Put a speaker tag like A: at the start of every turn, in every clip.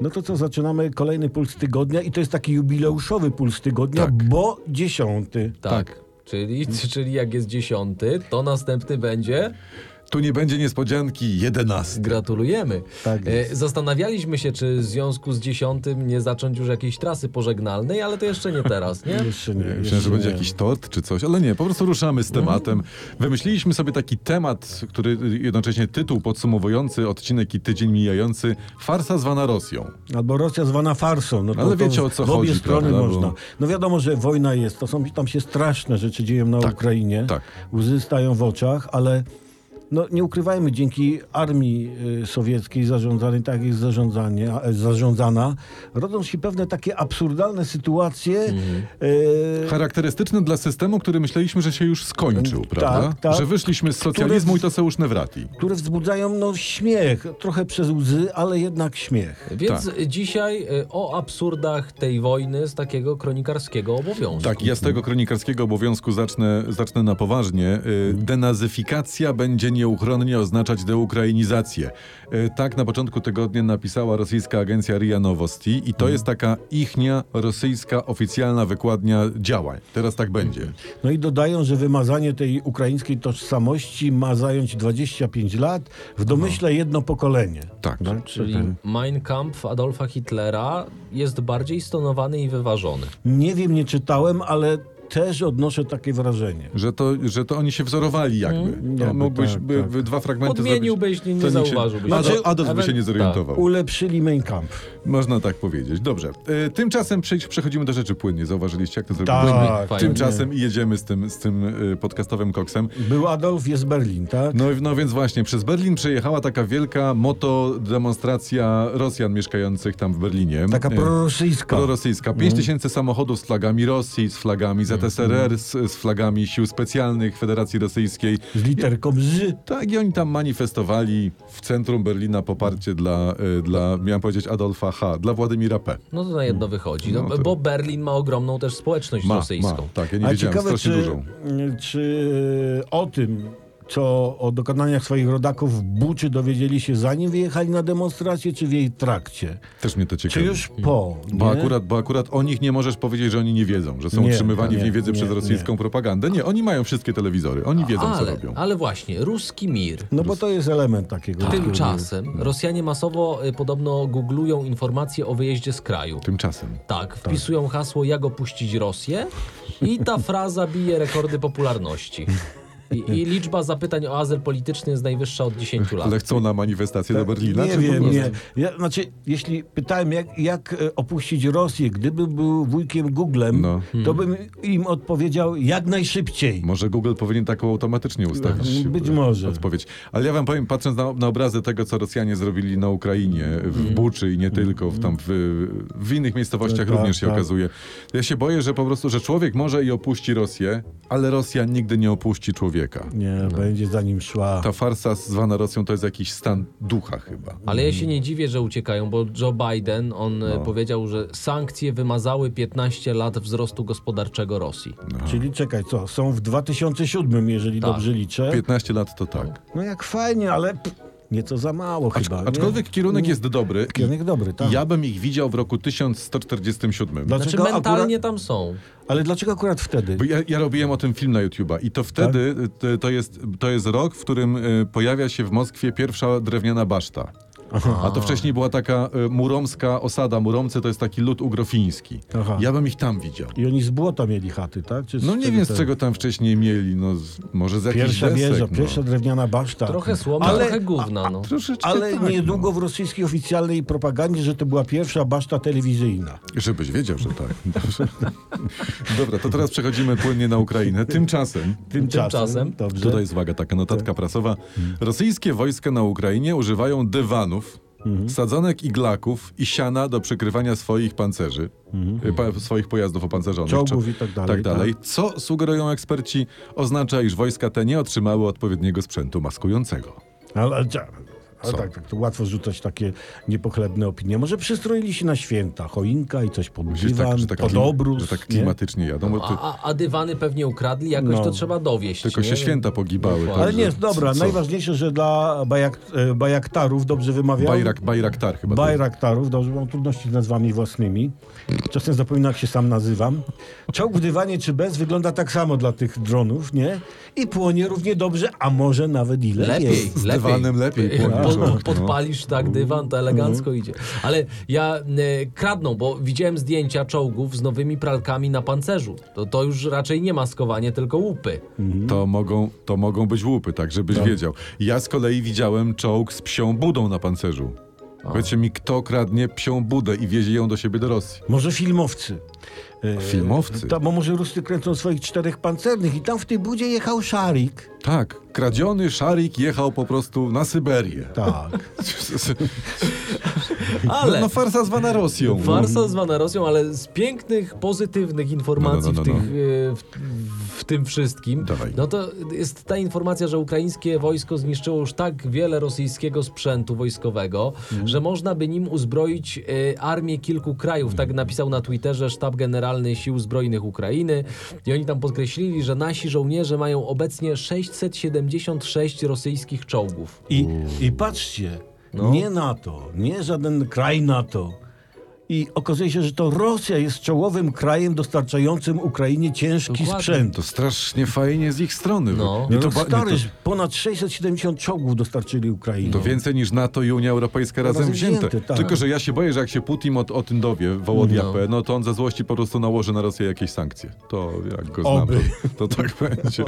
A: No to co, zaczynamy kolejny puls tygodnia i to jest taki jubileuszowy puls tygodnia,
B: Tak.
A: bo dziesiąty.
C: Tak. Czyli, czyli jak jest dziesiąty, to następny będzie.
B: Tu nie będzie niespodzianki 11.
C: Gratulujemy.
A: Tak jest.
C: E, Zastanawialiśmy się, czy w związku z dziesiątym nie zacząć już jakiejś trasy pożegnalnej, ale to jeszcze nie teraz, nie?
A: Jeszcze nie.
B: Myślałem, że
A: jeszcze
B: będzie
A: nie.
B: jakiś tort czy coś, ale nie, po prostu ruszamy
A: No.
B: z tematem. Wymyśliliśmy sobie taki temat, który jednocześnie tytuł podsumowujący odcinek i tydzień mijający. Farsa zwana Rosją.
A: Albo Rosja zwana farsą. No to,
B: Ale
A: to
B: wiecie, o co
A: w obie
B: chodzi,
A: strony
B: prawda, bo-
A: można. No wiadomo, że wojna jest. To są, tam się straszne rzeczy dzieją na Ukrainie.
B: tak.
A: Łzy stają w oczach, ale no, nie ukrywajmy, dzięki armii y, sowieckiej zarządzanej, tak jak jest zarządzanie, a, zarządzana, rodzą się pewne takie absurdalne sytuacje.
B: Mhm.
A: y,
B: Charakterystyczny dla systemu, który myśleliśmy, że się już skończył,
A: Tak,
B: prawda?
A: tak.
B: Że wyszliśmy z socjalizmu i to se już wrati.
A: które wzbudzają no, śmiech, trochę przez łzy, ale jednak śmiech.
C: Więc
B: Tak.
C: dzisiaj e, o absurdach tej wojny z takiego kronikarskiego obowiązku.
B: Tak, ja z tego kronikarskiego obowiązku zacznę, zacznę na poważnie. Y, Denazyfikacja będzie nieuchronnie oznaczać deukrainizację. Y, Tak na początku tygodnia napisała rosyjska agencja RIA Nowosti i to jest taka ichnia rosyjska oficjalna wykładnia działań. Teraz tak będzie.
A: No i dodają, że wymazanie tej ukraińskiej tożsamości ma zająć 25 lat, w domyśle jedno pokolenie.
B: Tak.
A: No,
C: Czyli
A: ten-
C: Mein Kampf Adolfa Hitlera jest bardziej stonowany i wyważony.
A: Nie wiem, nie czytałem, ale też odnoszę takie wrażenie.
B: Że to, że to oni się wzorowali jakby. No,
A: Jakby,
B: mógłbyś
A: tak,
B: by,
A: tak.
B: by dwa fragmenty
C: Podmieniłbyś,
B: zrobić.
C: nie,
B: to
C: nie
B: nikt się-
C: zauważyłbyś.
B: Adolf- Adolf by
C: Ewen-
B: się nie zorientował.
A: tak. Ulepszyli Mein Kampf.
B: Można tak powiedzieć. Dobrze. Y, Tymczasem przejść- przechodzimy do rzeczy płynnie. Zauważyliście, jak to zrobiliśmy?
A: Tak,
C: fajnie.
B: Tymczasem i jedziemy z tym, z tym y, podcastowym koksem.
A: Był Adolf, jest Berlin, tak?
B: No, i- no więc właśnie, przez Berlin przejechała taka wielka moto demonstracja Rosjan mieszkających tam w Berlinie.
A: Taka
B: Y,
A: prorosyjska. Mhm.
B: prorosyjska. 5 tysięcy samochodów z flagami Rosji, z flagami ZSRR, z, z flagami Sił Specjalnych Federacji Rosyjskiej.
A: Z literką Z.
B: Tak, i oni tam manifestowali w centrum Berlina poparcie dla, y, dla miałem powiedzieć Adolfa H., dla Władimira P.
C: No to na jedno wychodzi, no,
B: No to-
C: bo Berlin ma ogromną też społeczność
B: Ma, ma,
C: rosyjską.
B: tak, ja nie
A: A
B: wiedziałem,
A: ciekawe,
B: strasznie
A: czy,
B: dużą.
A: czy e, o tym, co o dokonaniach swoich rodaków w Buczy dowiedzieli się zanim wyjechali na demonstrację, czy w jej trakcie?
B: Też mnie to
A: Czy
B: ciekawi.
A: już
C: Mhm.
A: po?
B: Bo
A: nie?
B: akurat, bo akurat o nich nie możesz powiedzieć, że oni nie wiedzą, że są
A: Nie,
B: utrzymywani
A: nie,
B: w niewiedzy
A: nie,
B: przez rosyjską propagandę. Nie, oni mają wszystkie telewizory, oni wiedzą, co
C: ale,
B: tak, robią.
C: ale właśnie, ruski mir.
A: No bo to jest element takiego.
B: Tak.
C: Tymczasem Rosjanie masowo y, podobno googlują informacje o wyjeździe z kraju.
B: Tymczasem.
C: Tak, wpisują hasło jak opuścić Rosję i ta fraza bije rekordy popularności. I, I liczba zapytań o azyl polityczny jest najwyższa od 10 lat.
B: Ale chcą na manifestację do Berlina?
A: Tak, nie
B: czy po
A: wiem,
B: prostu?
A: nie. Ja, znaczy, jeśli pytałem, jak, jak e, opuścić Rosję, gdyby był wujkiem Googlem,
B: No.
A: to bym im odpowiedział jak najszybciej.
B: Może Google powinien taką automatycznie ustawić.
A: No, być
B: e,
A: może.
B: Odpowiedź. Ale ja wam powiem, patrząc na, na obrazy tego, co Rosjanie zrobili na Ukrainie, w Buczy i nie tylko, w, tam w, w innych miejscowościach
A: Mhm. Tak,
B: również się
A: tak.
B: okazuje. Ja się boję, że po prostu, że człowiek może i opuści Rosję, ale Rosja nigdy nie opuści człowieka.
A: Nie, będzie za nim szła.
B: Ta farsa zwana Rosją to jest jakiś stan ducha chyba.
C: Ale ja się nie dziwię, że uciekają, bo Joe Biden, on e, powiedział, że sankcje wymazały 15 lat wzrostu gospodarczego Rosji.
B: no.
A: Czyli czekaj, co? Są w 2007, jeżeli
C: Tak.
A: dobrze liczę.
B: 15 lat to tak.
A: No jak fajnie, ale p- nieco za mało chyba. nie?
B: Aczkolwiek kierunek jest dobry.
A: Kierunek dobry, tak.
B: Ja bym ich widział w roku 1147.
A: Dlaczego
C: Znaczy mentalnie
A: Akurat,
C: tam są.
A: ale dlaczego akurat wtedy?
B: Bo ja, ja robiłem o tym film na YouTube'a i to
A: Tak?
B: wtedy y, to, to, jest, to jest rok, w którym y, pojawia się w Moskwie pierwsza drewniana baszta. A to wcześniej była taka y, muromska osada. Muromcy to jest taki lud ugrofiński.
A: Aha.
B: Ja bym ich tam widział.
A: I oni z błota mieli chaty, tak? Czy z
B: No nie
A: czego
B: wiem, z
A: te-
B: czego tam wcześniej mieli. No, z, może z jakichś
A: Pierwsza
B: desek.
A: wieża,
B: no.
A: pierwsza drewniana baszta.
C: Trochę słomy, trochę gówna. No.
B: Troszeczkę
A: Ale
B: tak,
A: niedługo w rosyjskiej oficjalnej propagandzie, że to była pierwsza baszta telewizyjna.
B: Żebyś wiedział, że tak. Dobrze. Dobra, to teraz przechodzimy płynnie na Ukrainę. Tymczasem,
A: Tymczasem,
C: Tymczasem,
A: dobrze. Tak. Mhm.
B: tutaj jest uwaga, taka notatka prasowa. Rosyjskie wojska na Ukrainie używają dywanów,
A: Mhm.
B: sadzonek iglaków i siana do przykrywania swoich pancerzy, y, pa, swoich pojazdów opancerzonych.
A: Mhm. Czołgów
B: Czo-
A: i tak dalej,
B: Tak dalej. Co sugerują eksperci, oznacza, iż wojska te nie otrzymały odpowiedniego sprzętu maskującego.
A: Ale, ale, cza- Ale
B: Są.
A: tak, tak, to łatwo rzucać takie niepochlebne opinie. Może przystroili się na święta, choinka i coś pod
B: Gdzieś tak,
A: dywan,
B: że tak,
A: pod
B: klima-
A: obrus.
B: że tak
A: nie?
B: klimatycznie jadą, bo ty,
C: A, a, a dywany pewnie ukradli, jakoś
A: No.
C: to trzeba dowieść.
B: tylko
C: nie?
B: się święta pogibały.
C: Dokładnie.
A: Ale
B: także
A: nie, dobra,
B: co?
A: najważniejsze, że dla bajak, e, bajaktarów, dobrze wymawiam?
B: Bajrak, bajraktar chyba. to jest.
A: Bajraktarów, dobrze, mam trudności z nazwami własnymi. Czasem zapominam, jak się sam nazywam. Czołg w dywanie czy bez wygląda tak samo dla tych dronów, nie? I płonie równie dobrze, a może nawet i lepiej.
C: Lepiej,
B: Z
C: lepiej.
B: dywanem lepiej
C: Po-
B: płonie
C: po-
B: żołądek, no. Mhm.
C: Podpalisz tak dywan, to elegancko idzie. Ale ja e, kradną, bo widziałem zdjęcia czołgów z nowymi pralkami na pancerzu. To, to już raczej nie maskowanie, tylko łupy.
B: To mogą, to mogą być łupy, tak żebyś wiedział. Ja z kolei widziałem czołg z psią budą na pancerzu. Powiedzcie mi, kto kradnie psią budę i wiezie ją do siebie do Rosji.
A: Może filmowcy. E,
B: Filmowcy?
A: To, bo może Ruscy kręcą swoich czterech pancernych i tam w tej budzie jechał szarik.
B: Tak, kradziony szarik jechał po prostu na Syberię.
A: Tak.
B: Ale...
C: Ale...
B: No farsa zwana Rosją.
C: Farsa zwana Rosją, ale z pięknych, pozytywnych informacji
B: No, no, no, no,
C: W, tych, e, w, w tym wszystkim,
B: Dawaj.
C: no to jest ta informacja, że ukraińskie wojsko zniszczyło już tak wiele rosyjskiego sprzętu wojskowego,
B: Mhm.
C: że można by nim uzbroić e, armię kilku krajów. Tak
B: Mhm.
C: napisał na Twitterze sztab generalny Sił Zbrojnych Ukrainy i oni tam podkreślili, że nasi żołnierze mają obecnie 676 rosyjskich czołgów.
A: I, i patrzcie,
C: Mm. No.
A: nie NATO, nie żaden kraj NATO. I okazuje się, że to Rosja jest czołowym krajem dostarczającym Ukrainie ciężki
C: Dokładnie.
A: sprzęt.
B: To strasznie fajnie z ich strony.
C: No.
A: Nie to
B: ba-
A: stary,
B: nie,
A: że ponad 670 czołgów dostarczyli Ukrainie.
B: to więcej niż NATO i Unia Europejska razem,
A: Razem
B: wzięte.
A: No. wzięte, tak.
B: Tylko, że ja się boję, że jak się Putin o, o tym dowie, Wołodia P., no to on ze złości po prostu nałoży na Rosję jakieś sankcje. To jak go znam,
A: Oby.
B: to, to tak będzie.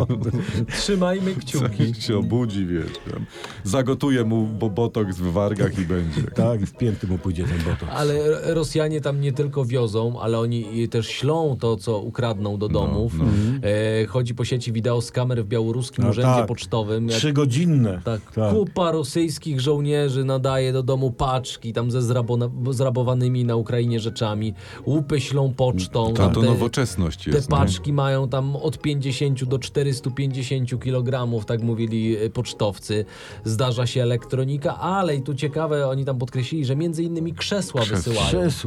C: Trzymajmy kciuki.
B: się obudzi, wiesz. Tam. Zagotuje mu bobotok w wargach i będzie.
A: Tak, i w pięty mu pójdzie ten botok.
C: Ale R- Rosjanie tam nie tylko wiozą, ale oni i też ślą to, co ukradną do domów. E, chodzi po sieci wideo z kamer w białoruskim
A: No
C: urzędzie
A: tak.
C: pocztowym. Jak,
A: Trzygodzinne.
C: tak, Kupa rosyjskich żołnierzy nadaje do domu paczki tam ze zrabona- zrabowanymi na Ukrainie rzeczami. Łupy ślą pocztą.
B: Ta,
A: Tak.
C: tam
B: No, to
C: te-
B: nowoczesność
C: te
B: jest. no.
C: paczki mają tam od 50 do 450 kg, tak mówili y, pocztowcy. Zdarza się elektronika, ale i tu ciekawe, oni tam podkreślili, że między innymi krzesła wysyłają.
A: Krzesła.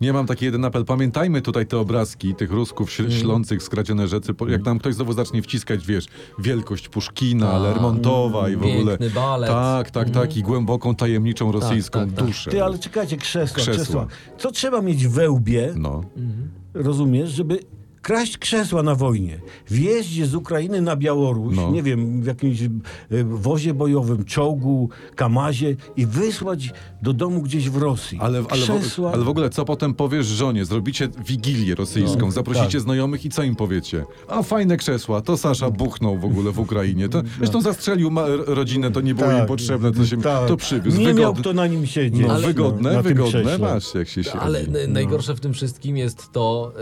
B: Nie mam taki jeden apel. Pamiętajmy tutaj te obrazki tych Rusków śl-
A: Mm.
B: ślących, skradzione rzeczy. Po- Jak nam ktoś znowu zacznie wciskać, wiesz, wielkość Puszkina,
A: Tak.
B: Lermontowa i w
C: piękny
B: ogóle.
C: balet.
B: Tak, tak, tak.
A: Mm.
B: I głęboką, tajemniczą rosyjską
C: tak, tak.
B: duszę.
A: Ty, ale czekajcie, krzesła,
B: Krzesła.
A: krzesła, Co trzeba mieć we łbie,
B: No.
A: Mm. rozumiesz, żeby kraść krzesła na wojnie? Wjeździe z Ukrainy na Białoruś,
B: No.
A: nie wiem, w jakimś y, wozie bojowym, czołgu, kamazie i wysłać do domu gdzieś w Rosji.
B: Ale, ale, w,
A: krzesła...
B: ale w ogóle co potem powiesz żonie? Zrobicie wigilię rosyjską,
A: No,
B: zaprosicie
A: tak.
B: znajomych i co im powiecie? A fajne krzesła, to Sasza buchnął w ogóle w Ukrainie. To, zresztą zastrzelił ma, rodzinę, to nie było
A: Mm. Tak.
B: im potrzebne, to, się,
A: Tak.
B: to przywiózł.
A: Nie miał
B: Wygodne,
A: kto na nim siedzieć.
B: no,
A: Ale-
B: wygodne,
A: na tym
B: wygodne
A: krześle.
B: masz, jak się siedzi.
C: Ale n- najgorsze w tym wszystkim jest to,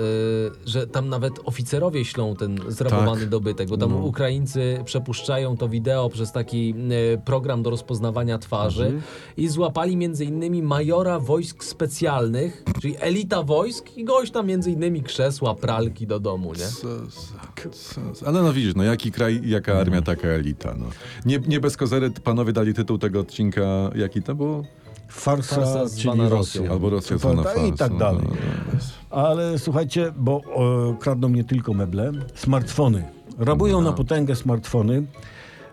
C: y, że tam nawet oficerowie ślą ten zrabowany
B: Tak.
C: dobytek, bo tam Ukraińcy przepuszczają to wideo przez taki y, program do rozpoznawania twarzy
B: Mhm.
C: i złapali między innymi majora wojsk specjalnych, czyli elita wojsk i gość tam między innymi krzesła, pralki do domu, nie?
B: Co za- co za- Ale no widzisz, no jaki kraj, jaka armia, taka elita. No. Nie, nie bez kozery panowie dali tytuł tego odcinka, jaki to było?
A: Farsa,
C: Farsa
A: czyli
C: zwana
A: Rosja.
C: Rosją.
B: Albo Rosja
A: Prawda?
B: zwana farsą.
A: I tak dalej.
B: No, no, no.
A: Ale słuchajcie, bo e, kradną nie tylko meble, smartfony. Rabują
B: No.
A: na potęgę smartfony,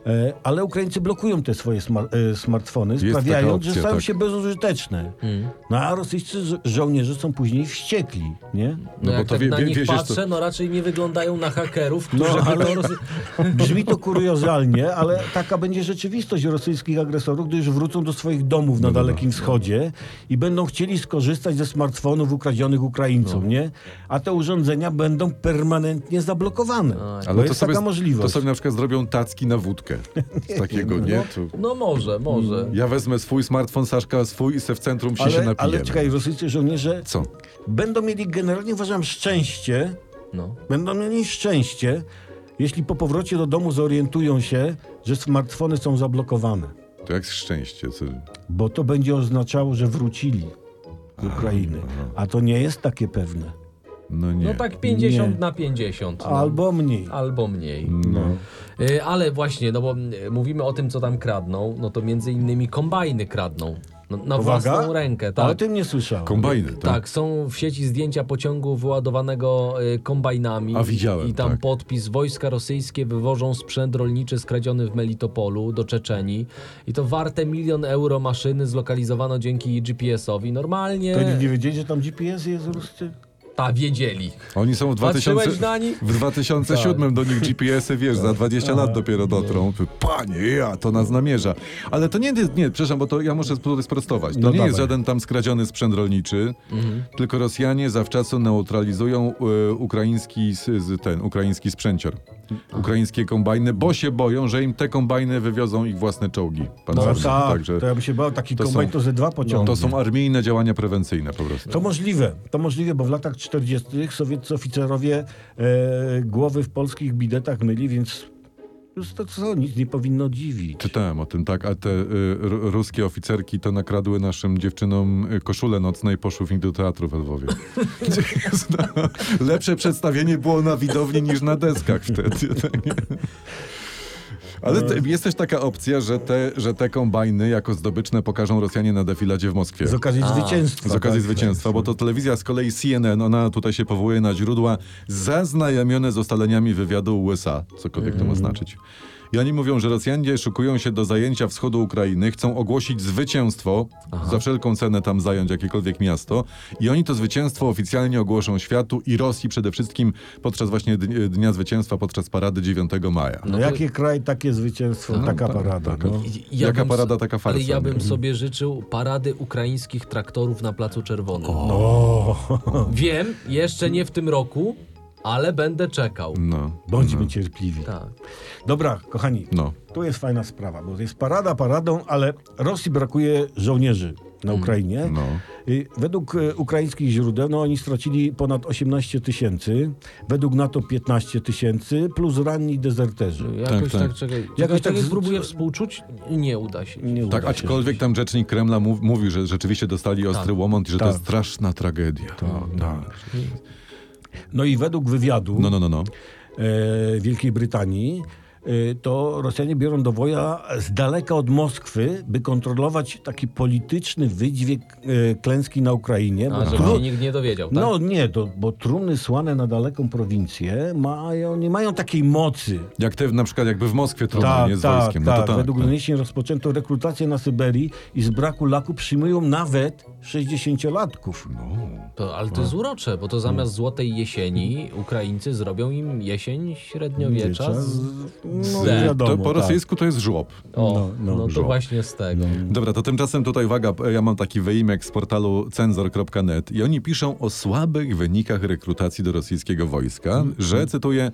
A: e, ale Ukraińcy blokują te swoje smar- e, smartfony,
B: taka
A: sprawiając,
B: opcja,
A: że stają
B: tak. Mm.
A: się bezużyteczne. No a rosyjscy żo- żołnierze są później wściekli, nie?
B: bo
C: No, jak
B: to
C: tak
B: wie-
C: na
B: wie-
C: nich
B: wieziesz to-
C: patrzę, no raczej nie wyglądają na hakerów,
A: No,
C: którzy by
A: ale
C: to roz-
A: brzmi to kuriozalnie, ale taka będzie rzeczywistość rosyjskich agresorów, gdyż wrócą do swoich domów na Dalekim Wschodzie i będą chcieli skorzystać ze smartfonów ukradzionych Ukraińcom, nie? A te urządzenia będą permanentnie zablokowane. Ale jest taka
B: No, To
A: możliwość.
B: sobie na przykład zrobią tacki na wódkę. Z takiego, nie? Tu.
C: No może, może.
B: Ja wezmę swój smartfon, Saszka swój i se w centrum wsi się
A: Ale,
B: napijemy.
A: ale czekaj, rosyjscy żołnierze
B: Co?
A: będą mieli generalnie, uważam, szczęście,
C: No.
A: będą mieli szczęście, jeśli po powrocie do domu zorientują się, że smartfony są zablokowane.
B: To jak szczęście. Co?
A: bo to będzie oznaczało, że wrócili z Ukrainy. A to nie jest takie pewne.
B: No nie.
C: No tak 50
A: Nie.
C: na 50. No.
A: Albo mniej.
C: Albo mniej.
B: No.
C: Y, Ale właśnie, no bo y, mówimy o tym, co tam kradną, no to między innymi kombajny kradną. No, na
A: Uwaga.
C: własną rękę, tak.
A: O tym nie słyszałem.
B: Kombajny, tak?
C: Tak, są w sieci zdjęcia pociągu wyładowanego y, kombajnami.
B: A, widziałem,
C: I tam
B: tak.
C: podpis: Wojska rosyjskie wywożą sprzęt rolniczy skradziony w Melitopolu do Czeczenii. I to warte milion euro maszyny zlokalizowano dzięki GPS-owi. Normalnie.
A: To nie, nie wiedzieli, że tam GPS jest ruscy?
C: Ta, wiedzieli.
B: Oni są w 2000,
C: Patrzyłeś na nich?
B: w
A: Tak.
B: 2007 do nich GPS-y, wiesz, za 20 lat dopiero dotrą. Panie, ja, to nas namierza. Ale to nie, jest- nie, przepraszam, bo to ja muszę tutaj sprostować. To
A: No
B: nie jest
A: dawaj. Mhm.
B: żaden tam skradziony sprzęt rolniczy, tylko Rosjanie zawczasu neutralizują e, ukraiński, s- z, ten, ukraiński sprzęcior. Ukraińskie kombajny, bo się boją, że im te kombajny wywiozą ich własne czołgi.
A: No
B: pancerne.
A: tak,
B: Także
A: to ja bym się bał, taki
B: to są-
A: kombajn to ze dwa pociągi.
B: to są armijne działania prewencyjne po prostu.
A: To możliwe, to możliwe, bo w latach 40. sowieccy oficerowie e, głowy w polskich bidetach myli, więc już to co, nic nie powinno dziwić.
B: Czytałem o tym, tak, a te y, ru- ruskie oficerki to nakradły naszym dziewczynom y, koszule nocne i poszły w nich do teatru we Lwowie. Gdzie jest, no, Lepsze przedstawienie było na widowni niż na deskach wtedy. tak. Ale te, jest też taka opcja, że te, że te kombajny jako zdobyczne pokażą Rosjanie na defiladzie w Moskwie.
A: Z okazji
C: A.
A: zwycięstwa.
B: Z okazji
A: tak.
B: zwycięstwa, bo to telewizja z kolei CNN, ona tutaj się powołuje na źródła zaznajomione z ustaleniami wywiadu USA, cokolwiek to ma znaczyć. I oni mówią, że Rosjanie szykują się do zajęcia wschodu Ukrainy, chcą ogłosić zwycięstwo, za wszelką cenę tam zająć jakiekolwiek miasto i oni to zwycięstwo oficjalnie ogłoszą światu i Rosji przede wszystkim podczas właśnie dni- Dnia Zwycięstwa, podczas parady 9 maja.
A: No,
C: No to-
A: jaki kraj, takie zwycięstwo,
B: No,
A: taka
B: tak,
A: parada.
B: tak.
A: No.
C: I-
B: Jaka
C: bym s-
B: parada, taka farsa, no.
C: Ale ja
B: nie?
C: bym sobie życzył parady ukraińskich traktorów na Placu Czerwonym. No.
A: O,
C: Wiem, jeszcze nie w tym roku, ale będę czekał.
B: No,
A: bądźmy cierpliwi.
C: Tak.
A: Dobra, kochani,
B: no.
A: tu jest fajna sprawa, bo jest parada paradą, ale Rosji brakuje żołnierzy na Ukrainie.
B: no.
A: Y, Według e, ukraińskich źródeł no, oni stracili ponad 18 tysięcy, według NATO 15 tysięcy, plus ranni dezerterzy.
C: Jakoś
B: tak.
C: tak, czekaj.
A: Jakoś
C: Jakoś
A: tak
C: tak
A: z-
C: spróbuję współczuć, nie uda się.
A: Nie uda
B: Tak,
A: się.
B: aczkolwiek tam rzecznik Kremla mów, mówił, że rzeczywiście dostali ostry łomont i że
A: Tak.
B: to jest straszna tragedia. No, tak.
A: No i według wywiadu
B: No, no, no, no.
A: e, Wielkiej Brytanii e, to Rosjanie biorą do woja z daleka od Moskwy, by kontrolować taki polityczny wydźwięk e, klęski na Ukrainie. bo
C: A, żeby
A: tru-
C: się nikt nie dowiedział, tak?
A: no nie, to, bo trumny słane na daleką prowincję mają, nie mają takiej mocy.
B: Jak te, na przykład jakby w Moskwie trudno,
A: Tak,
B: nie? Z
A: tak,
B: wojskiem.
A: tak.
B: no to tak.
A: Według
B: tak.
A: doniesień rozpoczęto rekrutację na Syberii i z braku laku przyjmują nawet 60-latków.
B: No.
C: To, ale to jest urocze, bo to zamiast złotej jesieni Ukraińcy zrobią im jesień średniowiecza. Z...
A: No,
C: Z-
A: wiadomo,
B: to po
A: tak.
B: rosyjsku to jest żłob.
C: O,
A: No,
C: no,
A: no,
C: to
B: żo-
C: właśnie z tego.
B: Dobra, to tymczasem tutaj uwaga, ja mam taki wyimek z portalu cenzor.net i oni piszą o słabych wynikach rekrutacji do rosyjskiego wojska, że, cytuję,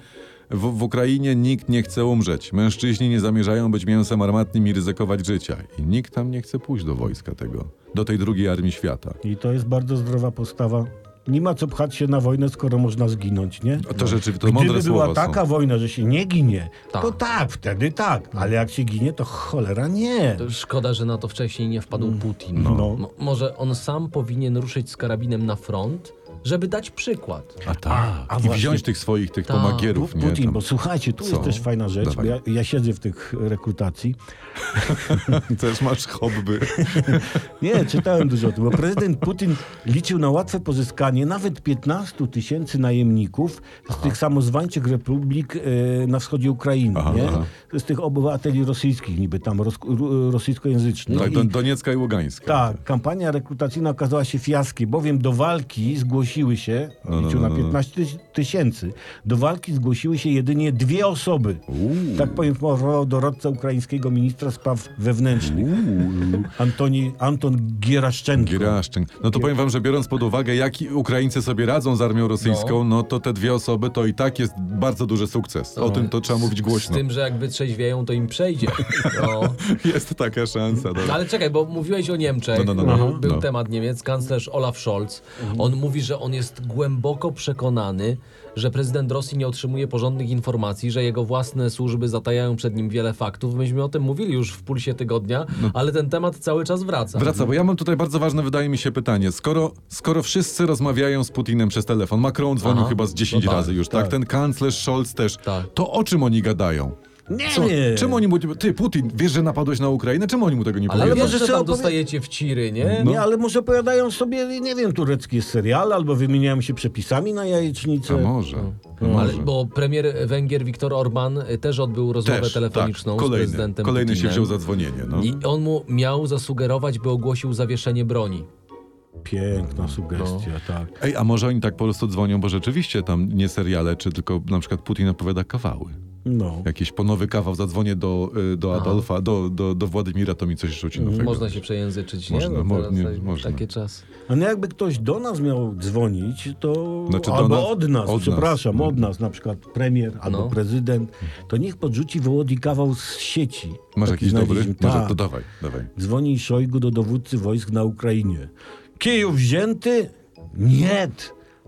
B: w, w Ukrainie nikt nie chce umrzeć, mężczyźni nie zamierzają być mięsem armatnym i ryzykować życia i nikt tam nie chce pójść do wojska tego, do tej drugiej armii świata.
A: I to jest bardzo zdrowa postawa. Nie ma co pchać się na wojnę, skoro można zginąć, nie?
B: To rzeczywiście, to
A: Gdyby
B: mądre
A: była
B: słowa
A: taka
B: są.
A: wojna, że się nie ginie,
C: Tak.
A: to tak, wtedy tak. Ale jak się ginie, to cholera nie.
B: No.
C: To Szkoda, że na to wcześniej nie wpadł
B: Mm.
C: Putin.
A: No.
C: Mo- może on sam powinien ruszyć z karabinem na front, żeby dać przykład.
B: A tak.
A: a
B: I
A: właśnie-
B: wziąć tych swoich, tych
C: Tak.
B: pomagierów, nie?
A: Putin,
B: Tam.
A: bo słuchajcie, tu
B: Co?
A: jest też fajna rzecz, bo
B: Dawaj.
A: ja, ja siedzę w tych rekrutacji.
B: Też masz hobby.
A: Nie, czytałem dużo o tym, bo prezydent Putin liczył na łatwe pozyskanie nawet 15 tysięcy najemników z tych samozwańczych republik e, na wschodzie Ukrainy,
B: Aha,
A: nie?
B: aha.
A: z tych obywateli rosyjskich niby tam, rosk- ru- rosyjskojęzycznych.
B: Tak,
A: No I-
B: do, Doniecka i Ługańska.
A: Tak, kampania rekrutacyjna okazała się fiaskiem, bowiem do walki zgłosiły się,
B: no,
A: liczył
B: no,
A: na
B: no.
A: 15 tyś- tysięcy, do walki zgłosiły się jedynie dwie osoby.
B: Uuu.
A: Tak poinformował doradca ukraińskiego ministra spraw wewnętrznych
B: Uuu.
A: Antoni, Anton Gieraszczenko.
B: Gieraszczyk. No to powiem wam, że biorąc pod uwagę, jak i Ukraińcy sobie radzą z armią rosyjską, no. to te dwie osoby to i tak jest bardzo duży sukces. O tym to trzeba mówić
C: Z
B: głośno.
C: tym, że jak wytrzeźwieją, to im przejdzie. No.
B: Jest taka szansa. Dobra.
C: Ale czekaj, bo mówiłeś o Niemczech.
B: No, no, no, no.
C: Był
B: No.
C: temat Niemiec, kanclerz Olaf Scholz. On mówi, że że on jest głęboko przekonany, że prezydent Rosji nie otrzymuje porządnych informacji, że jego własne służby zatajają przed nim wiele faktów. Myśmy o tym mówili już w pulsie tygodnia, ale ten temat cały czas wraca.
B: Wraca, bo ja mam tutaj bardzo ważne, wydaje mi się, pytanie. Skoro, skoro wszyscy rozmawiają z Putinem przez telefon, Macron dzwonił
C: Aha.
B: chyba z 10
C: No tak,
B: razy już, tak?
A: tak.
B: Ten kanclerz Scholz też.
C: Tak.
B: To o czym oni gadają?
A: Nie
B: Co,
A: wiem.
B: czym oni mu... Ty, Putin, wiesz, że napadłeś na Ukrainę? Czemu oni mu tego nie
C: Ale,
B: powiedzą?
C: wiesz,
A: może
C: że
A: trzeba
C: tam
A: powie-
C: dostajecie w ciry, nie?
B: no?
A: Nie, ale może opowiadają sobie, nie wiem, tureckie seriale, albo wymieniają się przepisami na jajecznicę.
B: A może. A
C: No. Ale,
B: może.
C: bo premier Węgier Viktor Orban y, też odbył rozmowę
B: Też,
C: telefoniczną
B: tak. kolejny,
C: z prezydentem
B: Kolejny się
C: Putinem.
B: wziął za dzwonienie. No.
C: I on mu miał zasugerować, by ogłosił zawieszenie broni.
A: Piękna sugestia, tak.
B: Ej, a może oni tak po prostu dzwonią, bo rzeczywiście tam nie seriale, czy tylko na przykład Putin opowiada kawały.
A: No.
B: Jakiś ponowy kawał, zadzwonię do, y, do Adolfa, do, do, do Władimira, to mi coś rzuci nowego.
C: Można się przejęzyczyć, nie?
B: Tak. Można, mo-
C: teraz
B: nie,
C: tak-
B: można.
C: Takie czas.
A: A no jakby ktoś do nas miał dzwonić, to
B: Znaczy do
A: albo
B: nas-
A: od nas,
B: od nas. Mhm.
A: przepraszam, od nas, na przykład premier albo
C: No.
A: prezydent, to niech podrzuci Wołodzi kawał z sieci.
B: Masz
A: Taki
B: jakiś dobry?
A: znaleźliśmy.
B: Może,
A: Tak.
B: to dawaj, dawaj.
A: Dzwoni Szojgu do dowódcy wojsk na Ukrainie. Kijów wzięty? Nie.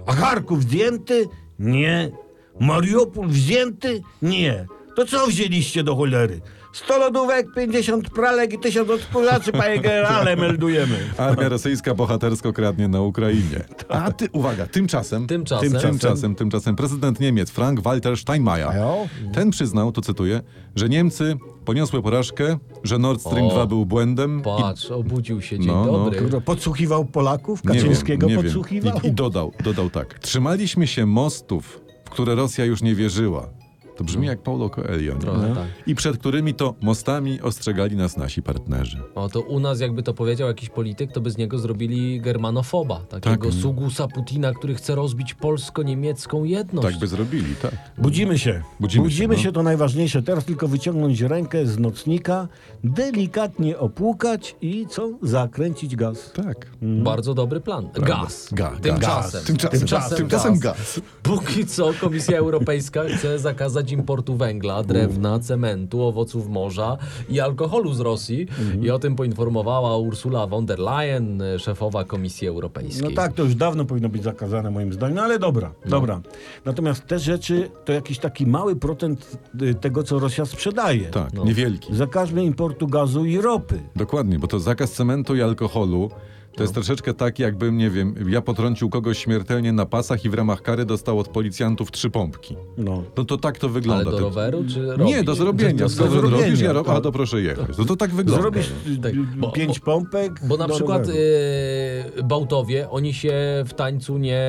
A: A Charków zdjęty? Nie. Mariupol wzięty? Nie. To co wzięliście do cholery? 100 lodówek, 50 pralek i 1000 odkurzaczy, panie generale, meldujemy.
B: Armia rosyjska bohatersko kradnie na Ukrainie. A ty, uwaga, tymczasem...
C: Tymczasem.
B: Tymczasem, tymczasem prezydent Niemiec Frank-Walter Steinmeier.
A: Ajo.
B: Ten przyznał, to cytuję, że Niemcy poniosły porażkę, że Nord Stream
C: O.
B: 2 był błędem i
C: Patrz, obudził się, dzień
B: No, no.
C: dobry.
A: Kto Podsłuchiwał Polaków?
B: Nie wiem,
A: Kaczyńskiego
B: nie wiem.
A: podsłuchiwał?
B: I, I dodał, dodał tak. Trzymaliśmy się mostów, w które Rosja już nie wierzyła. To brzmi jak Paulo Coelho. nie?
C: No. Trochę tak.
B: I przed którymi to mostami ostrzegali nas nasi partnerzy.
C: O, to u nas jakby to powiedział jakiś polityk, to by z niego zrobili germanofoba. Takiego
B: Tak.
C: sugusa Putina, który chce rozbić polsko-niemiecką jedność.
B: Tak by zrobili, tak.
A: Budzimy się.
B: Budzimy się, no.
A: się, to najważniejsze. Teraz tylko wyciągnąć rękę z nocnika, delikatnie opłukać i co? Zakręcić gaz.
B: Tak.
C: Bardzo dobry plan. Gaz.
B: Ga,
C: Tymczasem.
B: Gaz. Tymczasem.
C: Tymczasem,
B: Tymczasem
C: gaz.
B: gaz.
C: Póki co Komisja Europejska chce zakazać importu węgla, drewna, cementu, owoców morza i alkoholu z Rosji.
B: Mhm.
C: I o tym poinformowała Ursula von der Leyen, y, szefowa Komisji Europejskiej.
A: No tak, to już dawno powinno być zakazane moim zdaniem, no ale dobra, dobra. Natomiast te rzeczy to jakiś taki mały procent y, tego, co Rosja sprzedaje.
B: Tak,
C: No.
B: niewielki.
A: Zakażmy importu gazu i ropy.
B: Dokładnie, bo to zakaz cementu i alkoholu to
C: No.
B: jest troszeczkę tak, jakbym, nie wiem, ja potrącił kogoś śmiertelnie na pasach i w ramach kary dostał od policjantów trzy pompki.
A: No.
B: No to tak to
C: Ale
B: wygląda.
C: do
B: Ty-
C: roweru czy robi?
B: Nie, do zrobienia. Skoro
A: zrobienia,
B: robisz, ja robię,
A: tak.
B: a to proszę jechać. No to tak wygląda.
A: Zrobisz y,
C: Tak,
A: y,
C: bo-
A: pięć
C: bo-
A: pompek.
C: Bo na
A: do
C: przykład
A: roweru.
C: y, Bałtowie, oni się w tańcu nie...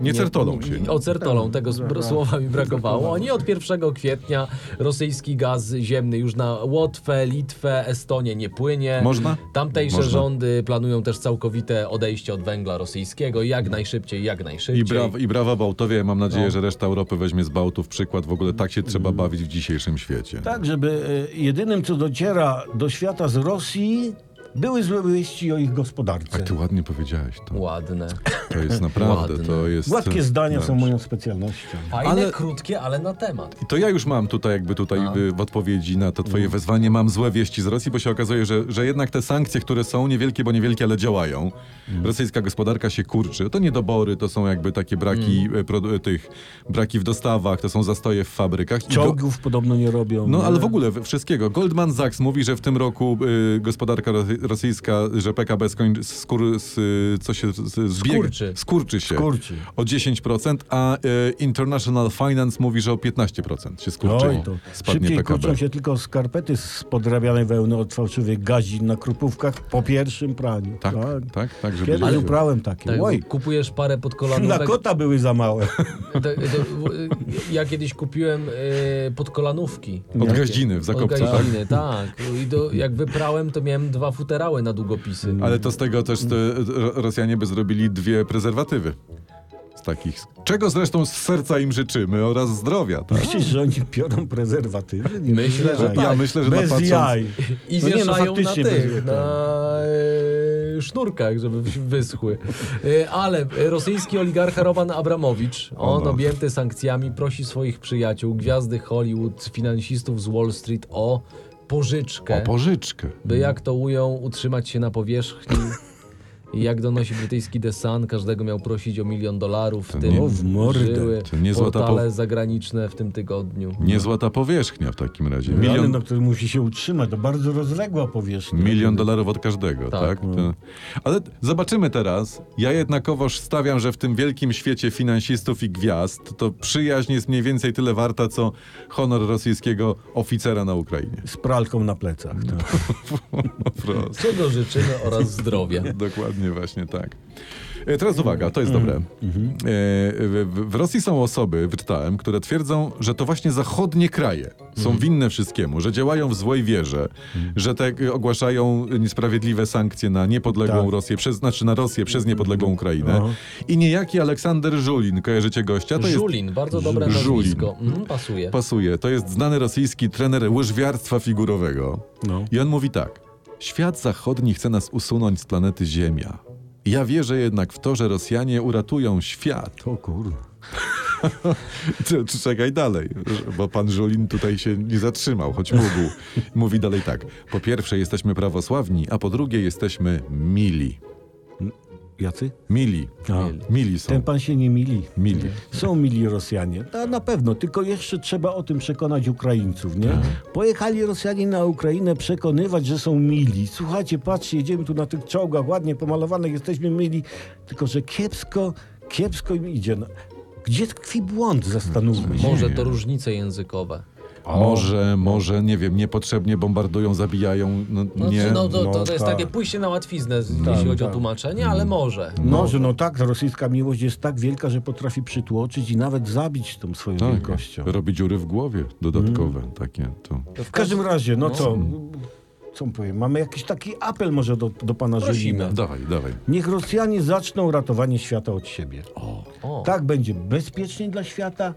B: Nie certolą się.
C: Ocertolą, tego
A: tak,
C: sp-
A: tak.
C: słowa mi brakowało. Oni od 1 kwietnia rosyjski gaz ziemny już na Łotwę, Litwę, Estonię nie płynie.
B: Można?
C: Tamtejsze
B: Można.
C: rządy planują też całkowite odejście od węgla rosyjskiego, jak najszybciej, jak najszybciej.
B: I brawa, I brawa Bałtowie, mam nadzieję,
A: No.
B: że reszta Europy weźmie z Bałtów przykład. W ogóle tak się trzeba bawić w dzisiejszym świecie.
A: Mm. Tak, żeby y, jedynym, co dociera do świata z Rosji, były złe wieści o ich gospodarce.
B: Jak ty ładnie powiedziałeś to.
C: Ładne.
B: To jest naprawdę,
C: Ładne.
B: to jest...
A: Gładkie zdania są
B: Dobrze.
A: moją specjalnością.
C: Fajne,
B: Ale-
C: krótkie, ale na temat.
B: I to ja już mam tutaj jakby tutaj
A: No.
B: y, w odpowiedzi na to
A: Mm.
B: twoje wezwanie, mam złe wieści z Rosji, bo się okazuje, że, że jednak te sankcje, które są niewielkie, bo niewielkie, ale działają.
A: Mm.
B: Rosyjska gospodarka się kurczy. To niedobory, to są jakby takie braki
A: Mm.
B: y, produ- y, tych, braki w dostawach, to są zastoje w fabrykach. I go-
A: Czołgów podobno nie robią.
B: No,
A: nie?
B: ale w ogóle we- wszystkiego. Goldman Sachs mówi, że w tym roku y, gospodarka rosy- rosyjska, że PKB skoń, skur, s, y, co się, z, z, zbieg,
C: Skurczy.
B: skurczy się
A: Skurczy.
B: o 10%, a y, International Finance mówi, że o 15% się skurczyło.
A: Oj, to
B: Spadnie
A: szybciej
B: PKB.
A: kurczą się tylko skarpety z podrabianej wełny od fałszywych gazin na krupówkach po pierwszym praniu.
B: Tak, tak, tak. żeby
A: Kiedyś
B: się-
A: uprałem takie.
C: Tak,
A: Oj,
C: kupujesz parę
A: na
C: podkolanówek.
A: kota były za małe.
B: Tak.
C: To, to, w- ja kiedyś kupiłem y, podkolanówki.
B: Od gaździny w Zakopcu,
C: Od
B: tak?
C: gaździny, tak. I do, jak wyprałem, to miałem dwa futerały na długopisy.
B: Ale to z tego też te, Ro- Rosjanie by zrobili dwie prezerwatywy. Z takich. Czego zresztą z serca im życzymy oraz zdrowia, tak?
A: Myślisz, że oni piorą prezerwatywy? Nie
C: Myślę, że tak.
A: wiem.
B: Ja myślę, że
A: Bez
B: napatrząc-
A: jaj.
C: I
A: No nie, no
C: wieszają na
A: faktycznie bez
C: tych,
A: jaj.
C: na e, sznurkach, żeby w- wyschły. E, ale rosyjski oligarcha Roman Abramowicz, on
B: no.
C: objęty sankcjami, prosi swoich przyjaciół, gwiazdy Hollywood, finansistów z Wall Street o pożyczkę,
B: O pożyczkę.
A: Mhm.
C: by jak to ują, utrzymać się na powierzchni I jak donosi brytyjski The Sun, każdego miał prosić o milion dolarów, w tym
B: nie-
A: O, w mordę.
C: żyły
B: To nie złota
C: portale
B: pow-
C: zagraniczne w tym tygodniu.
B: Niezła ta powierzchnia w takim razie.
A: Milion,
B: Milion,
A: na którym no, musi się utrzymać, to bardzo rozległa powierzchnia.
B: Milion dolarów od każdego, tak?
C: Tak.
B: To... Ale t- zobaczymy teraz. Ja jednakowoż stawiam, że w tym wielkim świecie finansistów i gwiazd to przyjaźń jest mniej więcej tyle warta, co honor rosyjskiego oficera na Ukrainie.
A: Z pralką na plecach. tak.
B: Po prostu.
C: Czego życzymy oraz zdrowia.
B: Dokładnie właśnie tak. E, Teraz uwaga, to jest dobre. E,
A: Mhm.
B: w- w- W Rosji są osoby, wyczytałem, które twierdzą, że to właśnie zachodnie kraje
A: Mhm.
B: są winne wszystkiemu, że działają w złej wierze, że tak e, ogłaszają niesprawiedliwe sankcje na niepodległą
A: Tak. Mhm.
B: Rosję, przez, znaczy na Rosję przez niepodległą Ukrainę.
A: Aha.
B: I niejaki Aleksander Żulin, kojarzycie gościa? To jest
C: Żulin, bardzo dobre
B: Żulin.
C: nazwisko. Mhm, pasuje.
B: Pasuje. To jest znany rosyjski trener łyżwiarstwa figurowego.
A: No.
B: I on mówi tak. Świat zachodni chce nas usunąć z planety Ziemia. Ja wierzę jednak w to, że Rosjanie uratują świat.
A: To kurwa.
B: Czy- czy Czekaj dalej, bo pan Żulin tutaj się nie zatrzymał, choć mógł. Mówi dalej tak. Po pierwsze jesteśmy prawosławni, a po drugie jesteśmy mili.
A: Jacy?
B: Mili.
A: A.
C: Mieli.
B: Mili
A: Ten
B: są.
A: pan się nie mili.
B: Mili.
A: Są mili Rosjanie. No, na pewno, tylko jeszcze trzeba o tym przekonać Ukraińców, nie? Pojechali Rosjanie na Ukrainę przekonywać, że są mili. Słuchajcie, patrzcie, jedziemy tu na tych czołgach, ładnie pomalowanych, jesteśmy mili, tylko że kiepsko, kiepsko im idzie. No, Gdzie tkwi błąd, zastanówmy się.
C: Może to różnice językowe.
B: Może, może, nie wiem, niepotrzebnie bombardują, zabijają. No,
C: No,
B: nie.
C: no to,
A: no
C: to, to jest
A: tak.
C: takie pójście na łatwiznę, z- jeśli chodzi
A: tak.
C: o tłumaczenie, ale może.
A: Może, no tak, rosyjska miłość jest tak wielka, że potrafi przytłoczyć i nawet zabić tą swoją
B: Tak,
A: wielkością.
B: robi dziury w głowie dodatkowe, takie to.
A: W każdym razie, no co? Co powiem? Mamy jakiś taki apel może do, do pana
C: Prosimy.
A: Żylina.
B: Dawaj, dawaj.
A: Niech Rosjanie zaczną ratowanie świata od siebie.
C: O,
A: Tak będzie bezpiecznie dla świata,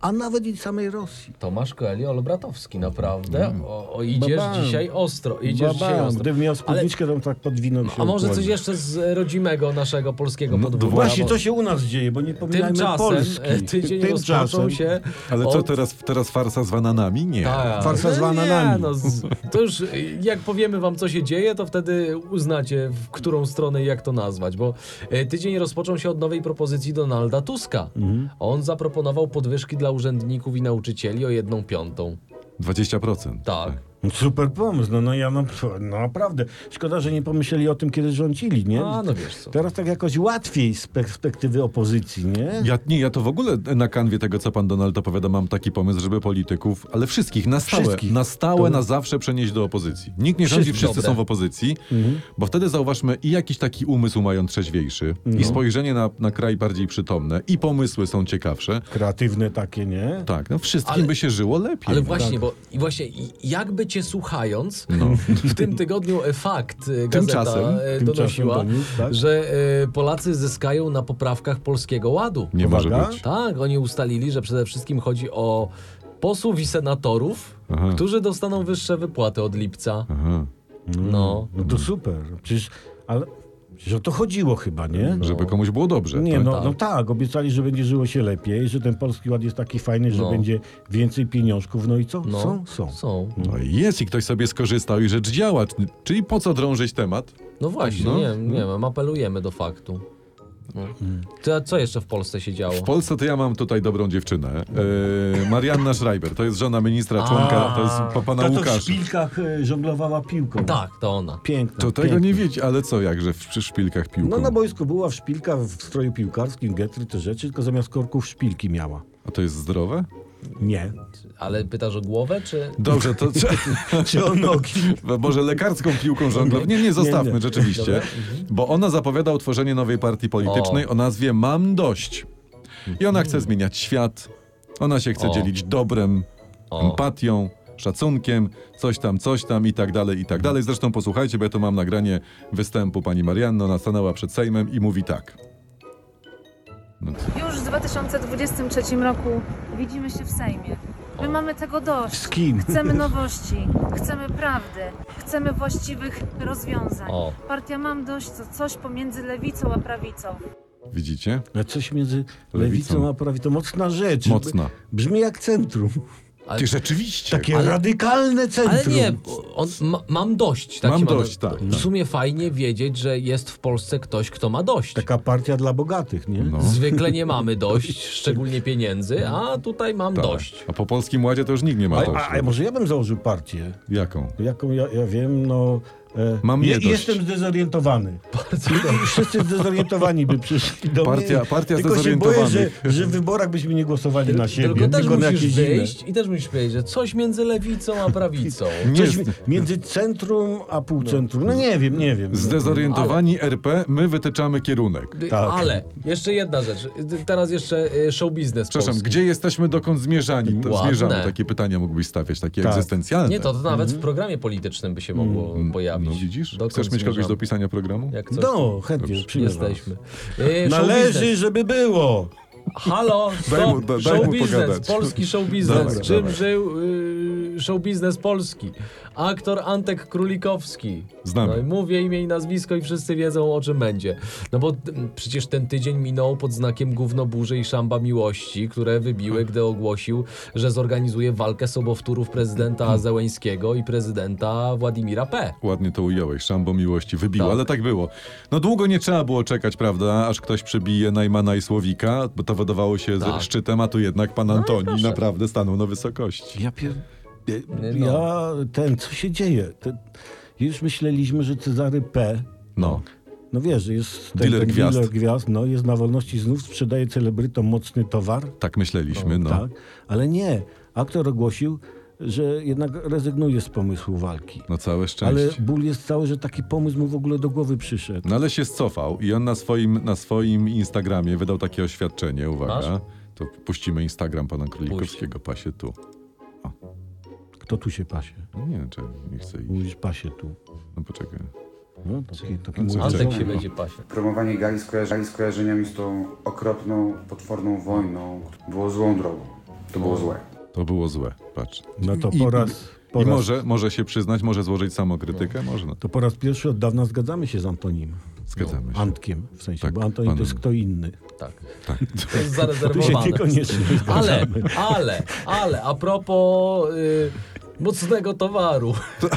A: a nawet i samej Rosji.
C: Tomasz Koelio Olbratowski, naprawdę. O, o idziesz
A: Mm. Babam.
C: dzisiaj ostro, idziesz dzisiaj
A: Babam,
C: ostro.
A: Gdybym miał
C: Ale,
A: spódniczkę, to bym tak podwinął się.
C: a może coś
A: ukłonił.
C: jeszcze z rodzimego naszego polskiego
B: No,
C: podwórka?
A: Właśnie,
C: bo
A: co się u nas dzieje, bo nie pominajmy
C: Tymczasem
A: Polski.
C: e, tydzień rozpoczął się
B: Ale co
C: od-
B: teraz, teraz farsa z bananami? Nie.
C: Tak.
A: Farsa z
C: No nie,
A: bananami.
C: No, z, to już y, jak powiemy wam, co się dzieje, to wtedy uznacie, w którą stronę i jak to nazwać, bo y, tydzień rozpoczął się od nowej propozycji Donalda Tuska.
A: Mhm.
C: On zaproponował podwyżki dla urzędników i nauczycieli o jedną piątą.
B: 20%.
C: Tak.
A: Super pomysł, no, no ja no, pf, no naprawdę. Szkoda, że nie pomyśleli o tym, kiedy rządzili, nie?
C: A, no wiesz co.
A: Teraz tak jakoś łatwiej z perspektywy opozycji, nie?
B: Ja, nie, ja to w ogóle na kanwie tego, co pan Donald opowiada, mam taki pomysł, żeby polityków, ale wszystkich na stałe,
A: Wszystkich.
B: na stałe, na zawsze przenieść do opozycji. Nikt nie rządzi,
C: Wszyscy.
B: wszyscy
C: Dobre.
B: są w opozycji,
A: Mhm.
B: bo wtedy zauważmy i jakiś taki umysł mają trzeźwiejszy, i
A: No.
B: spojrzenie na, na kraj bardziej przytomne, i pomysły są ciekawsze.
A: Kreatywne takie, nie?
B: Tak, no wszystkim
C: Ale-
B: by się żyło lepiej.
C: Ale
B: no.
A: Tak.
C: właśnie, bo i właśnie i- jakby cię słuchając, w tym tygodniu e, fakt e, gazeta
B: Tymczasem,
C: e,
A: tymczasem
C: donosiła,
A: doniósł, tak?
C: że e, Polacy zyskają na poprawkach Polskiego Ładu.
B: Nie może
A: Uwaga.
B: być.
C: Tak, oni ustalili, że przede wszystkim chodzi o posłów i senatorów,
B: Aha.
C: którzy dostaną wyższe wypłaty od lipca.
B: Aha.
C: No.
A: No to super. Przecież, ale przecież o to chodziło chyba, nie?
B: Żeby komuś było dobrze.
A: Nie,
B: tak?
A: no, no tak, obiecali, że będzie żyło się lepiej, że ten Polski Ład jest taki fajny, że
C: No.
A: będzie więcej pieniążków, no i co?
C: No,
A: Są? Są.
C: Są.
B: No i jest i ktoś sobie skorzystał i rzecz działa. Czy- Czyli po co drążyć temat?
C: No właśnie,
B: No.
C: nie, nie wiem, apelujemy do faktu. No.
A: Mm.
C: To, a co jeszcze w Polsce się działo?
B: W Polsce to ja mam tutaj dobrą dziewczynę. Yy, Marianna Schreiber, to jest żona ministra, członka, to jest po pana
A: Ta, to w
B: Łukasza.
A: szpilkach e, żonglowała piłką.
C: Tak, to ona.
A: Piękna.
B: To tego
A: piękna.
B: nie wiedzi, ale co, jakże w przy szpilkach piłką?
A: No na boisku była w szpilka w stroju piłkarskim, getry, te rzeczy, tylko zamiast korków szpilki miała.
B: A to jest zdrowe?
A: Nie.
C: Ale pytasz o głowę, czy...
B: Dobrze, to
A: Czy o nogi?
B: może lekarską piłką żonglow? Nie, nie, zostawmy,
A: Nie, mhm. nie.
B: rzeczywiście. Bo ona zapowiada utworzenie nowej partii politycznej o, nazwie Mam Dość. I ona chce zmieniać świat, ona się chce
C: O.
B: dzielić dobrem,
C: O.
B: empatią, szacunkiem, coś tam, coś tam i tak dalej, i tak dalej. Zresztą posłuchajcie, bo ja tu mam nagranie występu pani Marianny. Ona stanęła przed Sejmem i mówi tak. No, co?
D: Już w 2023 roku widzimy się w Sejmie. My mamy tego
A: Z
D: dość.
A: kim?
D: Chcemy nowości, chcemy prawdy, chcemy właściwych rozwiązań.
C: O.
D: Partia Mam Dość to coś pomiędzy lewicą a prawicą.
B: Widzicie?
A: No Coś między lewicą,
B: Lewicą.
A: a prawicą. Mocna rzecz.
B: Mocna.
A: Brzmi jak centrum.
B: Ty rzeczywiście.
A: Takie radykalne centrum.
C: Ale nie, on, ma, mam dość. Tak
B: Mam
C: się ma-
B: dość, tak,
C: W
B: tak.
C: sumie fajnie wiedzieć, że jest w Polsce ktoś, kto ma dość.
B: Tak.
A: Taka partia dla bogatych, nie?
B: No.
C: Zwykle nie mamy dość, szczególnie pieniędzy, a tutaj mam
B: Tak.
C: dość.
B: A po polskim ładzie to już nikt nie ma
A: A,
B: dość. no.
A: a, a może ja bym założył partię,
B: Jaką?
A: jaką ja, ja wiem, no... E,
B: Mam
A: je,
B: nie dość.
A: Jestem zdezorientowany. I- i Wszyscy zdezorientowani by przyszli do
B: Partia-
A: mnie.
B: partia
A: Tylko się boję, że,
B: zdezorientowanych.
A: że w wyborach byśmy nie głosowali na siebie,
C: Tylko też
A: na
C: musisz
A: jakieś inne.
C: wyjść i też musisz powiedzieć, że coś między lewicą a prawicą.
B: Nie
A: Coś
B: jest-
A: między centrum a półcentrum. No nie wiem, nie wiem.
B: Zdezorientowani RP, my wytyczamy kierunek.
A: Tak.
C: Ale jeszcze jedna rzecz. Teraz jeszcze y, show biznes.
B: Przepraszam,
C: polski.
B: gdzie jesteśmy, dokąd zmierzani? To
C: Ładne.
B: zmierzamy. Takie pytania mógłbyś stawiać, takie
A: Tak.
B: egzystencjalne.
C: Nie, to, to nawet w programie politycznym by się mogło pojawić.
B: Mhm. No widzisz?
C: Dokąd
B: Chcesz mieć kogoś
C: zmierzamy?
B: do pisania programu?
C: Jak coś,
A: No, chętnie,
B: Dobrze.
A: przyjmę.
C: jesteśmy. Y, show
A: Należy,
C: biznes.
A: żeby było.
C: Halo,
B: Daj mu-
C: stop,
B: da- daj
C: show
B: mu
C: biznes,
B: pogadać.
C: polski show biznes.
B: Dawaj,
C: Czym
B: dawaj.
C: żył y, show biznes polski? Aktor Antek Królikowski.
B: Znamy.
C: No i mówię imię i nazwisko i wszyscy wiedzą o czym będzie. No bo mm, przecież ten tydzień minął pod znakiem gówno burzy i szamba miłości, które wybiły, gdy ogłosił, że zorganizuje walkę sobowtórów prezydenta Zełeńskiego i prezydenta Władimira P.
B: Ładnie to ująłeś, szambo miłości wybiło,
C: Tak.
B: ale tak było. No długo nie trzeba było czekać, prawda, aż ktoś przebije Najmana i Słowika, bo to wydawało się
C: Tak.
B: z szczytem, a tu jednak pan Antoni naprawdę stanął na wysokości.
A: Ja pier...
C: No.
A: E, Ja ten, co się dzieje? Te, już myśleliśmy, że Cezary P.
B: No,
A: No wiesz, jest ten,
B: Dealer
A: ten
B: gwiazd.
A: dealer gwiazd, no jest na wolności znów, sprzedaje celebrytom mocny towar,
B: tak myśleliśmy, no.
A: tak? Ale nie, aktor ogłosił, że jednak rezygnuje z pomysłu walki.
B: No całe szczęście.
A: Ale ból jest cały, że taki pomysł mu w ogóle do głowy przyszedł.
B: No ale się scofał i on na swoim, na swoim Instagramie wydał takie oświadczenie, uwaga.
C: Masz?
B: To puścimy Instagram pana Królikowskiego, pasie tu.
A: Kto tu się pasie?
B: No Nie wiem, czy nie chcę iść.
A: Mówisz pasie tu.
B: No poczekaj.
A: No, taki, taki
B: Antek
A: mój-
C: Antek
B: Czekaj,
C: się
B: no.
C: będzie pasie.
E: Promowanie gali skojarzeń, skojarzeniami z tą okropną, potworną wojną było złą drogą. To było złe.
B: To było złe, patrz.
A: No to
B: I-
A: po raz... Po
B: I
A: raz
B: może, może się przyznać, może złożyć samokrytykę, no można.
A: To po raz pierwszy od dawna zgadzamy się z Antonim.
B: Zgadzamy się.
A: Antkiem w sensie,
B: Tak,
A: bo Antoni
B: panem.
A: to jest kto inny.
C: Tak.
B: Tak.
C: To jest
A: Tu się
C: zarezerwowane.
A: niekoniecznie
C: Ale, ale, ale, a propos y, mocnego towaru.
B: To,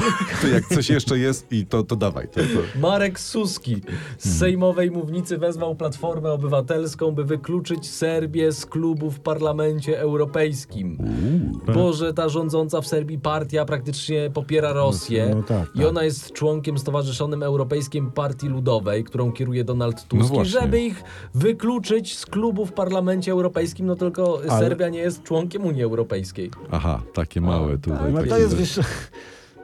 B: to jak coś jeszcze jest i to, to dawaj. To, to.
C: Marek Suski
A: Hmm.
C: z sejmowej mównicy wezwał Platformę Obywatelską, by wykluczyć Serbię z klubu w Parlamencie Europejskim. Bo że ta rządząca w Serbii partia praktycznie popiera Rosję
A: No tak,
C: i
A: tak.
C: ona jest członkiem Stowarzyszonym Europejskim Partii Ludowej, którą kieruje Donald
A: No
C: Tusk. I
B: właśnie.
C: żeby ich wykluczyć z klubu w Parlamencie Europejskim, no tylko
A: Ale-
C: Serbia nie jest członkiem Unii Europejskiej.
B: Aha, takie małe tutaj.
A: No
B: takie
A: to jest,
B: rzeczy.
A: wiesz,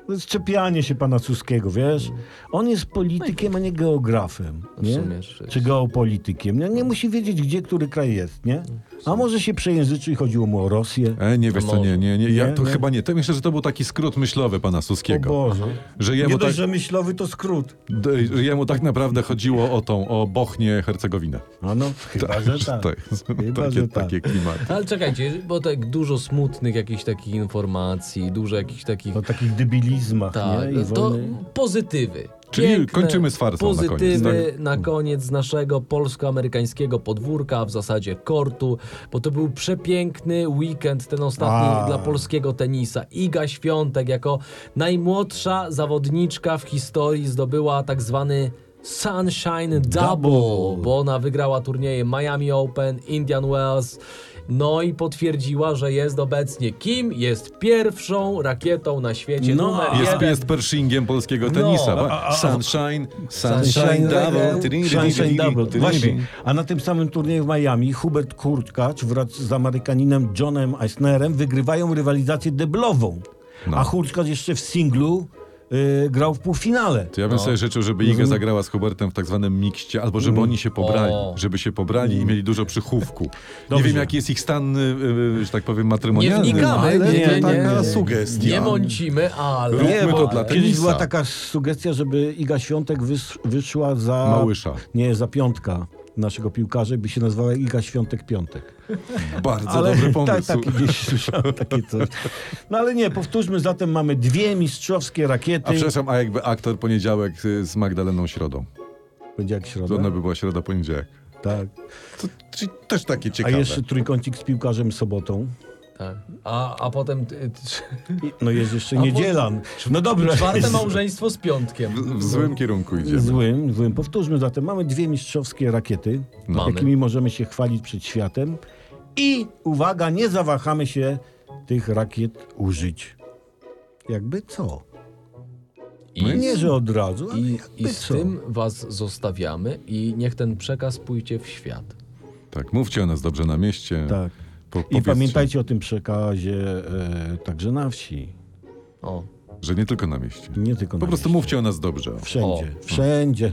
A: to jest czepianie się pana Suskiego, wiesz? On jest politykiem, a nie geografem, nie?
C: Rozumiesz,
A: Czy geopolitykiem. Nie, nie musi wiedzieć, gdzie który kraj jest, nie? A może się przejęzyczy i chodziło mu o Rosję?
B: E, nie wiesz co, nie, nie, nie. Ja
A: Nie,
B: to
A: nie.
B: chyba nie. To myślę, że to był taki skrót myślowy pana
A: O
B: Suskiego.
A: Boże.
B: Że
A: Nie
B: jemu,
A: dość,
B: tak,
A: że myślowy to skrót.
B: d- że jemu tak naprawdę chodziło o tą, o Bochnię Hercegowinę.
A: A no, chyba, że tak.
B: To jest,
A: Chyba,
B: takie,
A: że tak.
B: takie klimaty.
C: Ale czekajcie, bo tak dużo smutnych jakichś takich informacji, dużo jakichś takich...
A: O takich debilizmach,
C: Tak,
A: nie? I
C: to
A: wojny.
C: pozytywy.
B: Czyli
C: Piękne,
B: kończymy z farsą na koniec, tak?
C: Pozytywy na koniec naszego polsko-amerykańskiego podwórka, w zasadzie kortu, bo to był przepiękny weekend, ten ostatni
A: A.
C: dla polskiego tenisa. Iga Świątek jako najmłodsza zawodniczka w historii zdobyła tak zwany Sunshine Double,
A: Double.
C: bo ona wygrała turnieje Miami Open, Indian Wells. No i potwierdziła, że jest obecnie kim? Jest pierwszą rakietą na świecie.
A: No,
C: numer
B: Jest,
C: jeden.
B: jest Pershingiem polskiego
C: No.
B: tenisa.
C: A,
B: ba- Sunshine, Sunshine
A: Sunshine
B: Double.
A: Double. Sunshine Double. Właśnie. A na tym samym turnieju w Miami Hubert Kurtkacz wraz z Amerykaninem Johnem Eisnerem wygrywają rywalizację deblową.
B: No.
A: A Kurtkacz jeszcze w singlu y, grał w półfinale.
B: To ja bym sobie życzył, żeby Iga zagrała z Hubertem w tak zwanym mikście, albo
A: Mm.
B: żeby oni się pobrali,
C: O.
B: żeby się pobrali i mieli dużo przychówku. Nie
A: Dobrze.
B: wiem, jaki jest ich stan, y, y, że tak powiem,
C: Nie
B: matrymonialny.
C: wnikamy,
B: ale
C: nie, nie,
B: taka
C: nie,
B: sugestia.
C: nie mącimy, ale...
B: Róbmy to
C: ale-
B: dla tego.
A: Kiedyś
B: tenisa.
A: była taka sugestia, żeby Iga Świątek wys- wyszła za...
B: Małysza.
A: Nie, za piątka naszego piłkarza, by się nazwała Iga Świątek Piątek.
B: Bardzo dobry pomysł.
A: Tak, tak, gdzieś słyszałem takie coś. No ale nie, powtórzmy, zatem mamy dwie mistrzowskie rakiety.
B: A przepraszam, a jakby aktor poniedziałek y, z Magdaleną Środą.
A: Będzie jak
B: To
A: środa.
B: ona by była środa poniedziałek.
A: Tak.
B: To, czyli też takie
A: A
B: ciekawe.
A: jeszcze trójkącik z piłkarzem sobotą.
C: Tak. A, a potem y, t-
A: No jest jeszcze
C: A po-
A: niedziela. No dobra.
C: czwarte małżeństwo z piątkiem.
B: W, w złym kierunku idziemy.
A: Złym, złym. Powtórzmy zatem, mamy dwie mistrzowskie rakiety,
C: Mamy.
A: jakimi możemy się chwalić przed światem. I uwaga, nie zawahamy się tych rakiet użyć. Jakby co?
C: I,
A: Nie, że od razu, ale
C: i,
A: jakby
C: I z
A: co.
C: tym was zostawiamy i niech ten przekaz pójdzie w świat.
B: Tak, mówcie o nas dobrze na mieście.
A: Tak.
B: Po,
A: I
B: powiedzcie,
A: pamiętajcie o tym przekazie e, także na wsi.
C: O.
B: że nie tylko na mieście.
A: Nie tylko na
B: Po prostu
A: wsi.
B: mówcie o nas dobrze.
A: Wszędzie,
C: O.
A: wszędzie.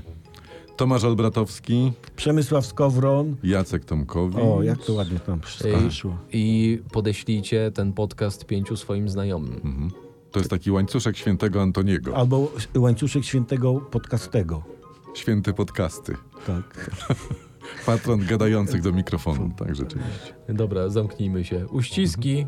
B: Tomasz Albratowski,
A: Przemysław Skowron.
B: Jacek Tomkowicz.
A: O, jak to ładnie tam wszystko
C: Ej.
A: wyszło.
C: I podeślijcie ten podcast pięciu swoim znajomym.
B: Mhm. To jest taki łańcuszek świętego Antoniego.
A: Albo łańcuszek świętego podcastego.
B: Święty podcasty.
A: Tak.
B: Patron gadających do mikrofonu. Tak, rzeczywiście.
C: Dobra, zamknijmy się. Uściski.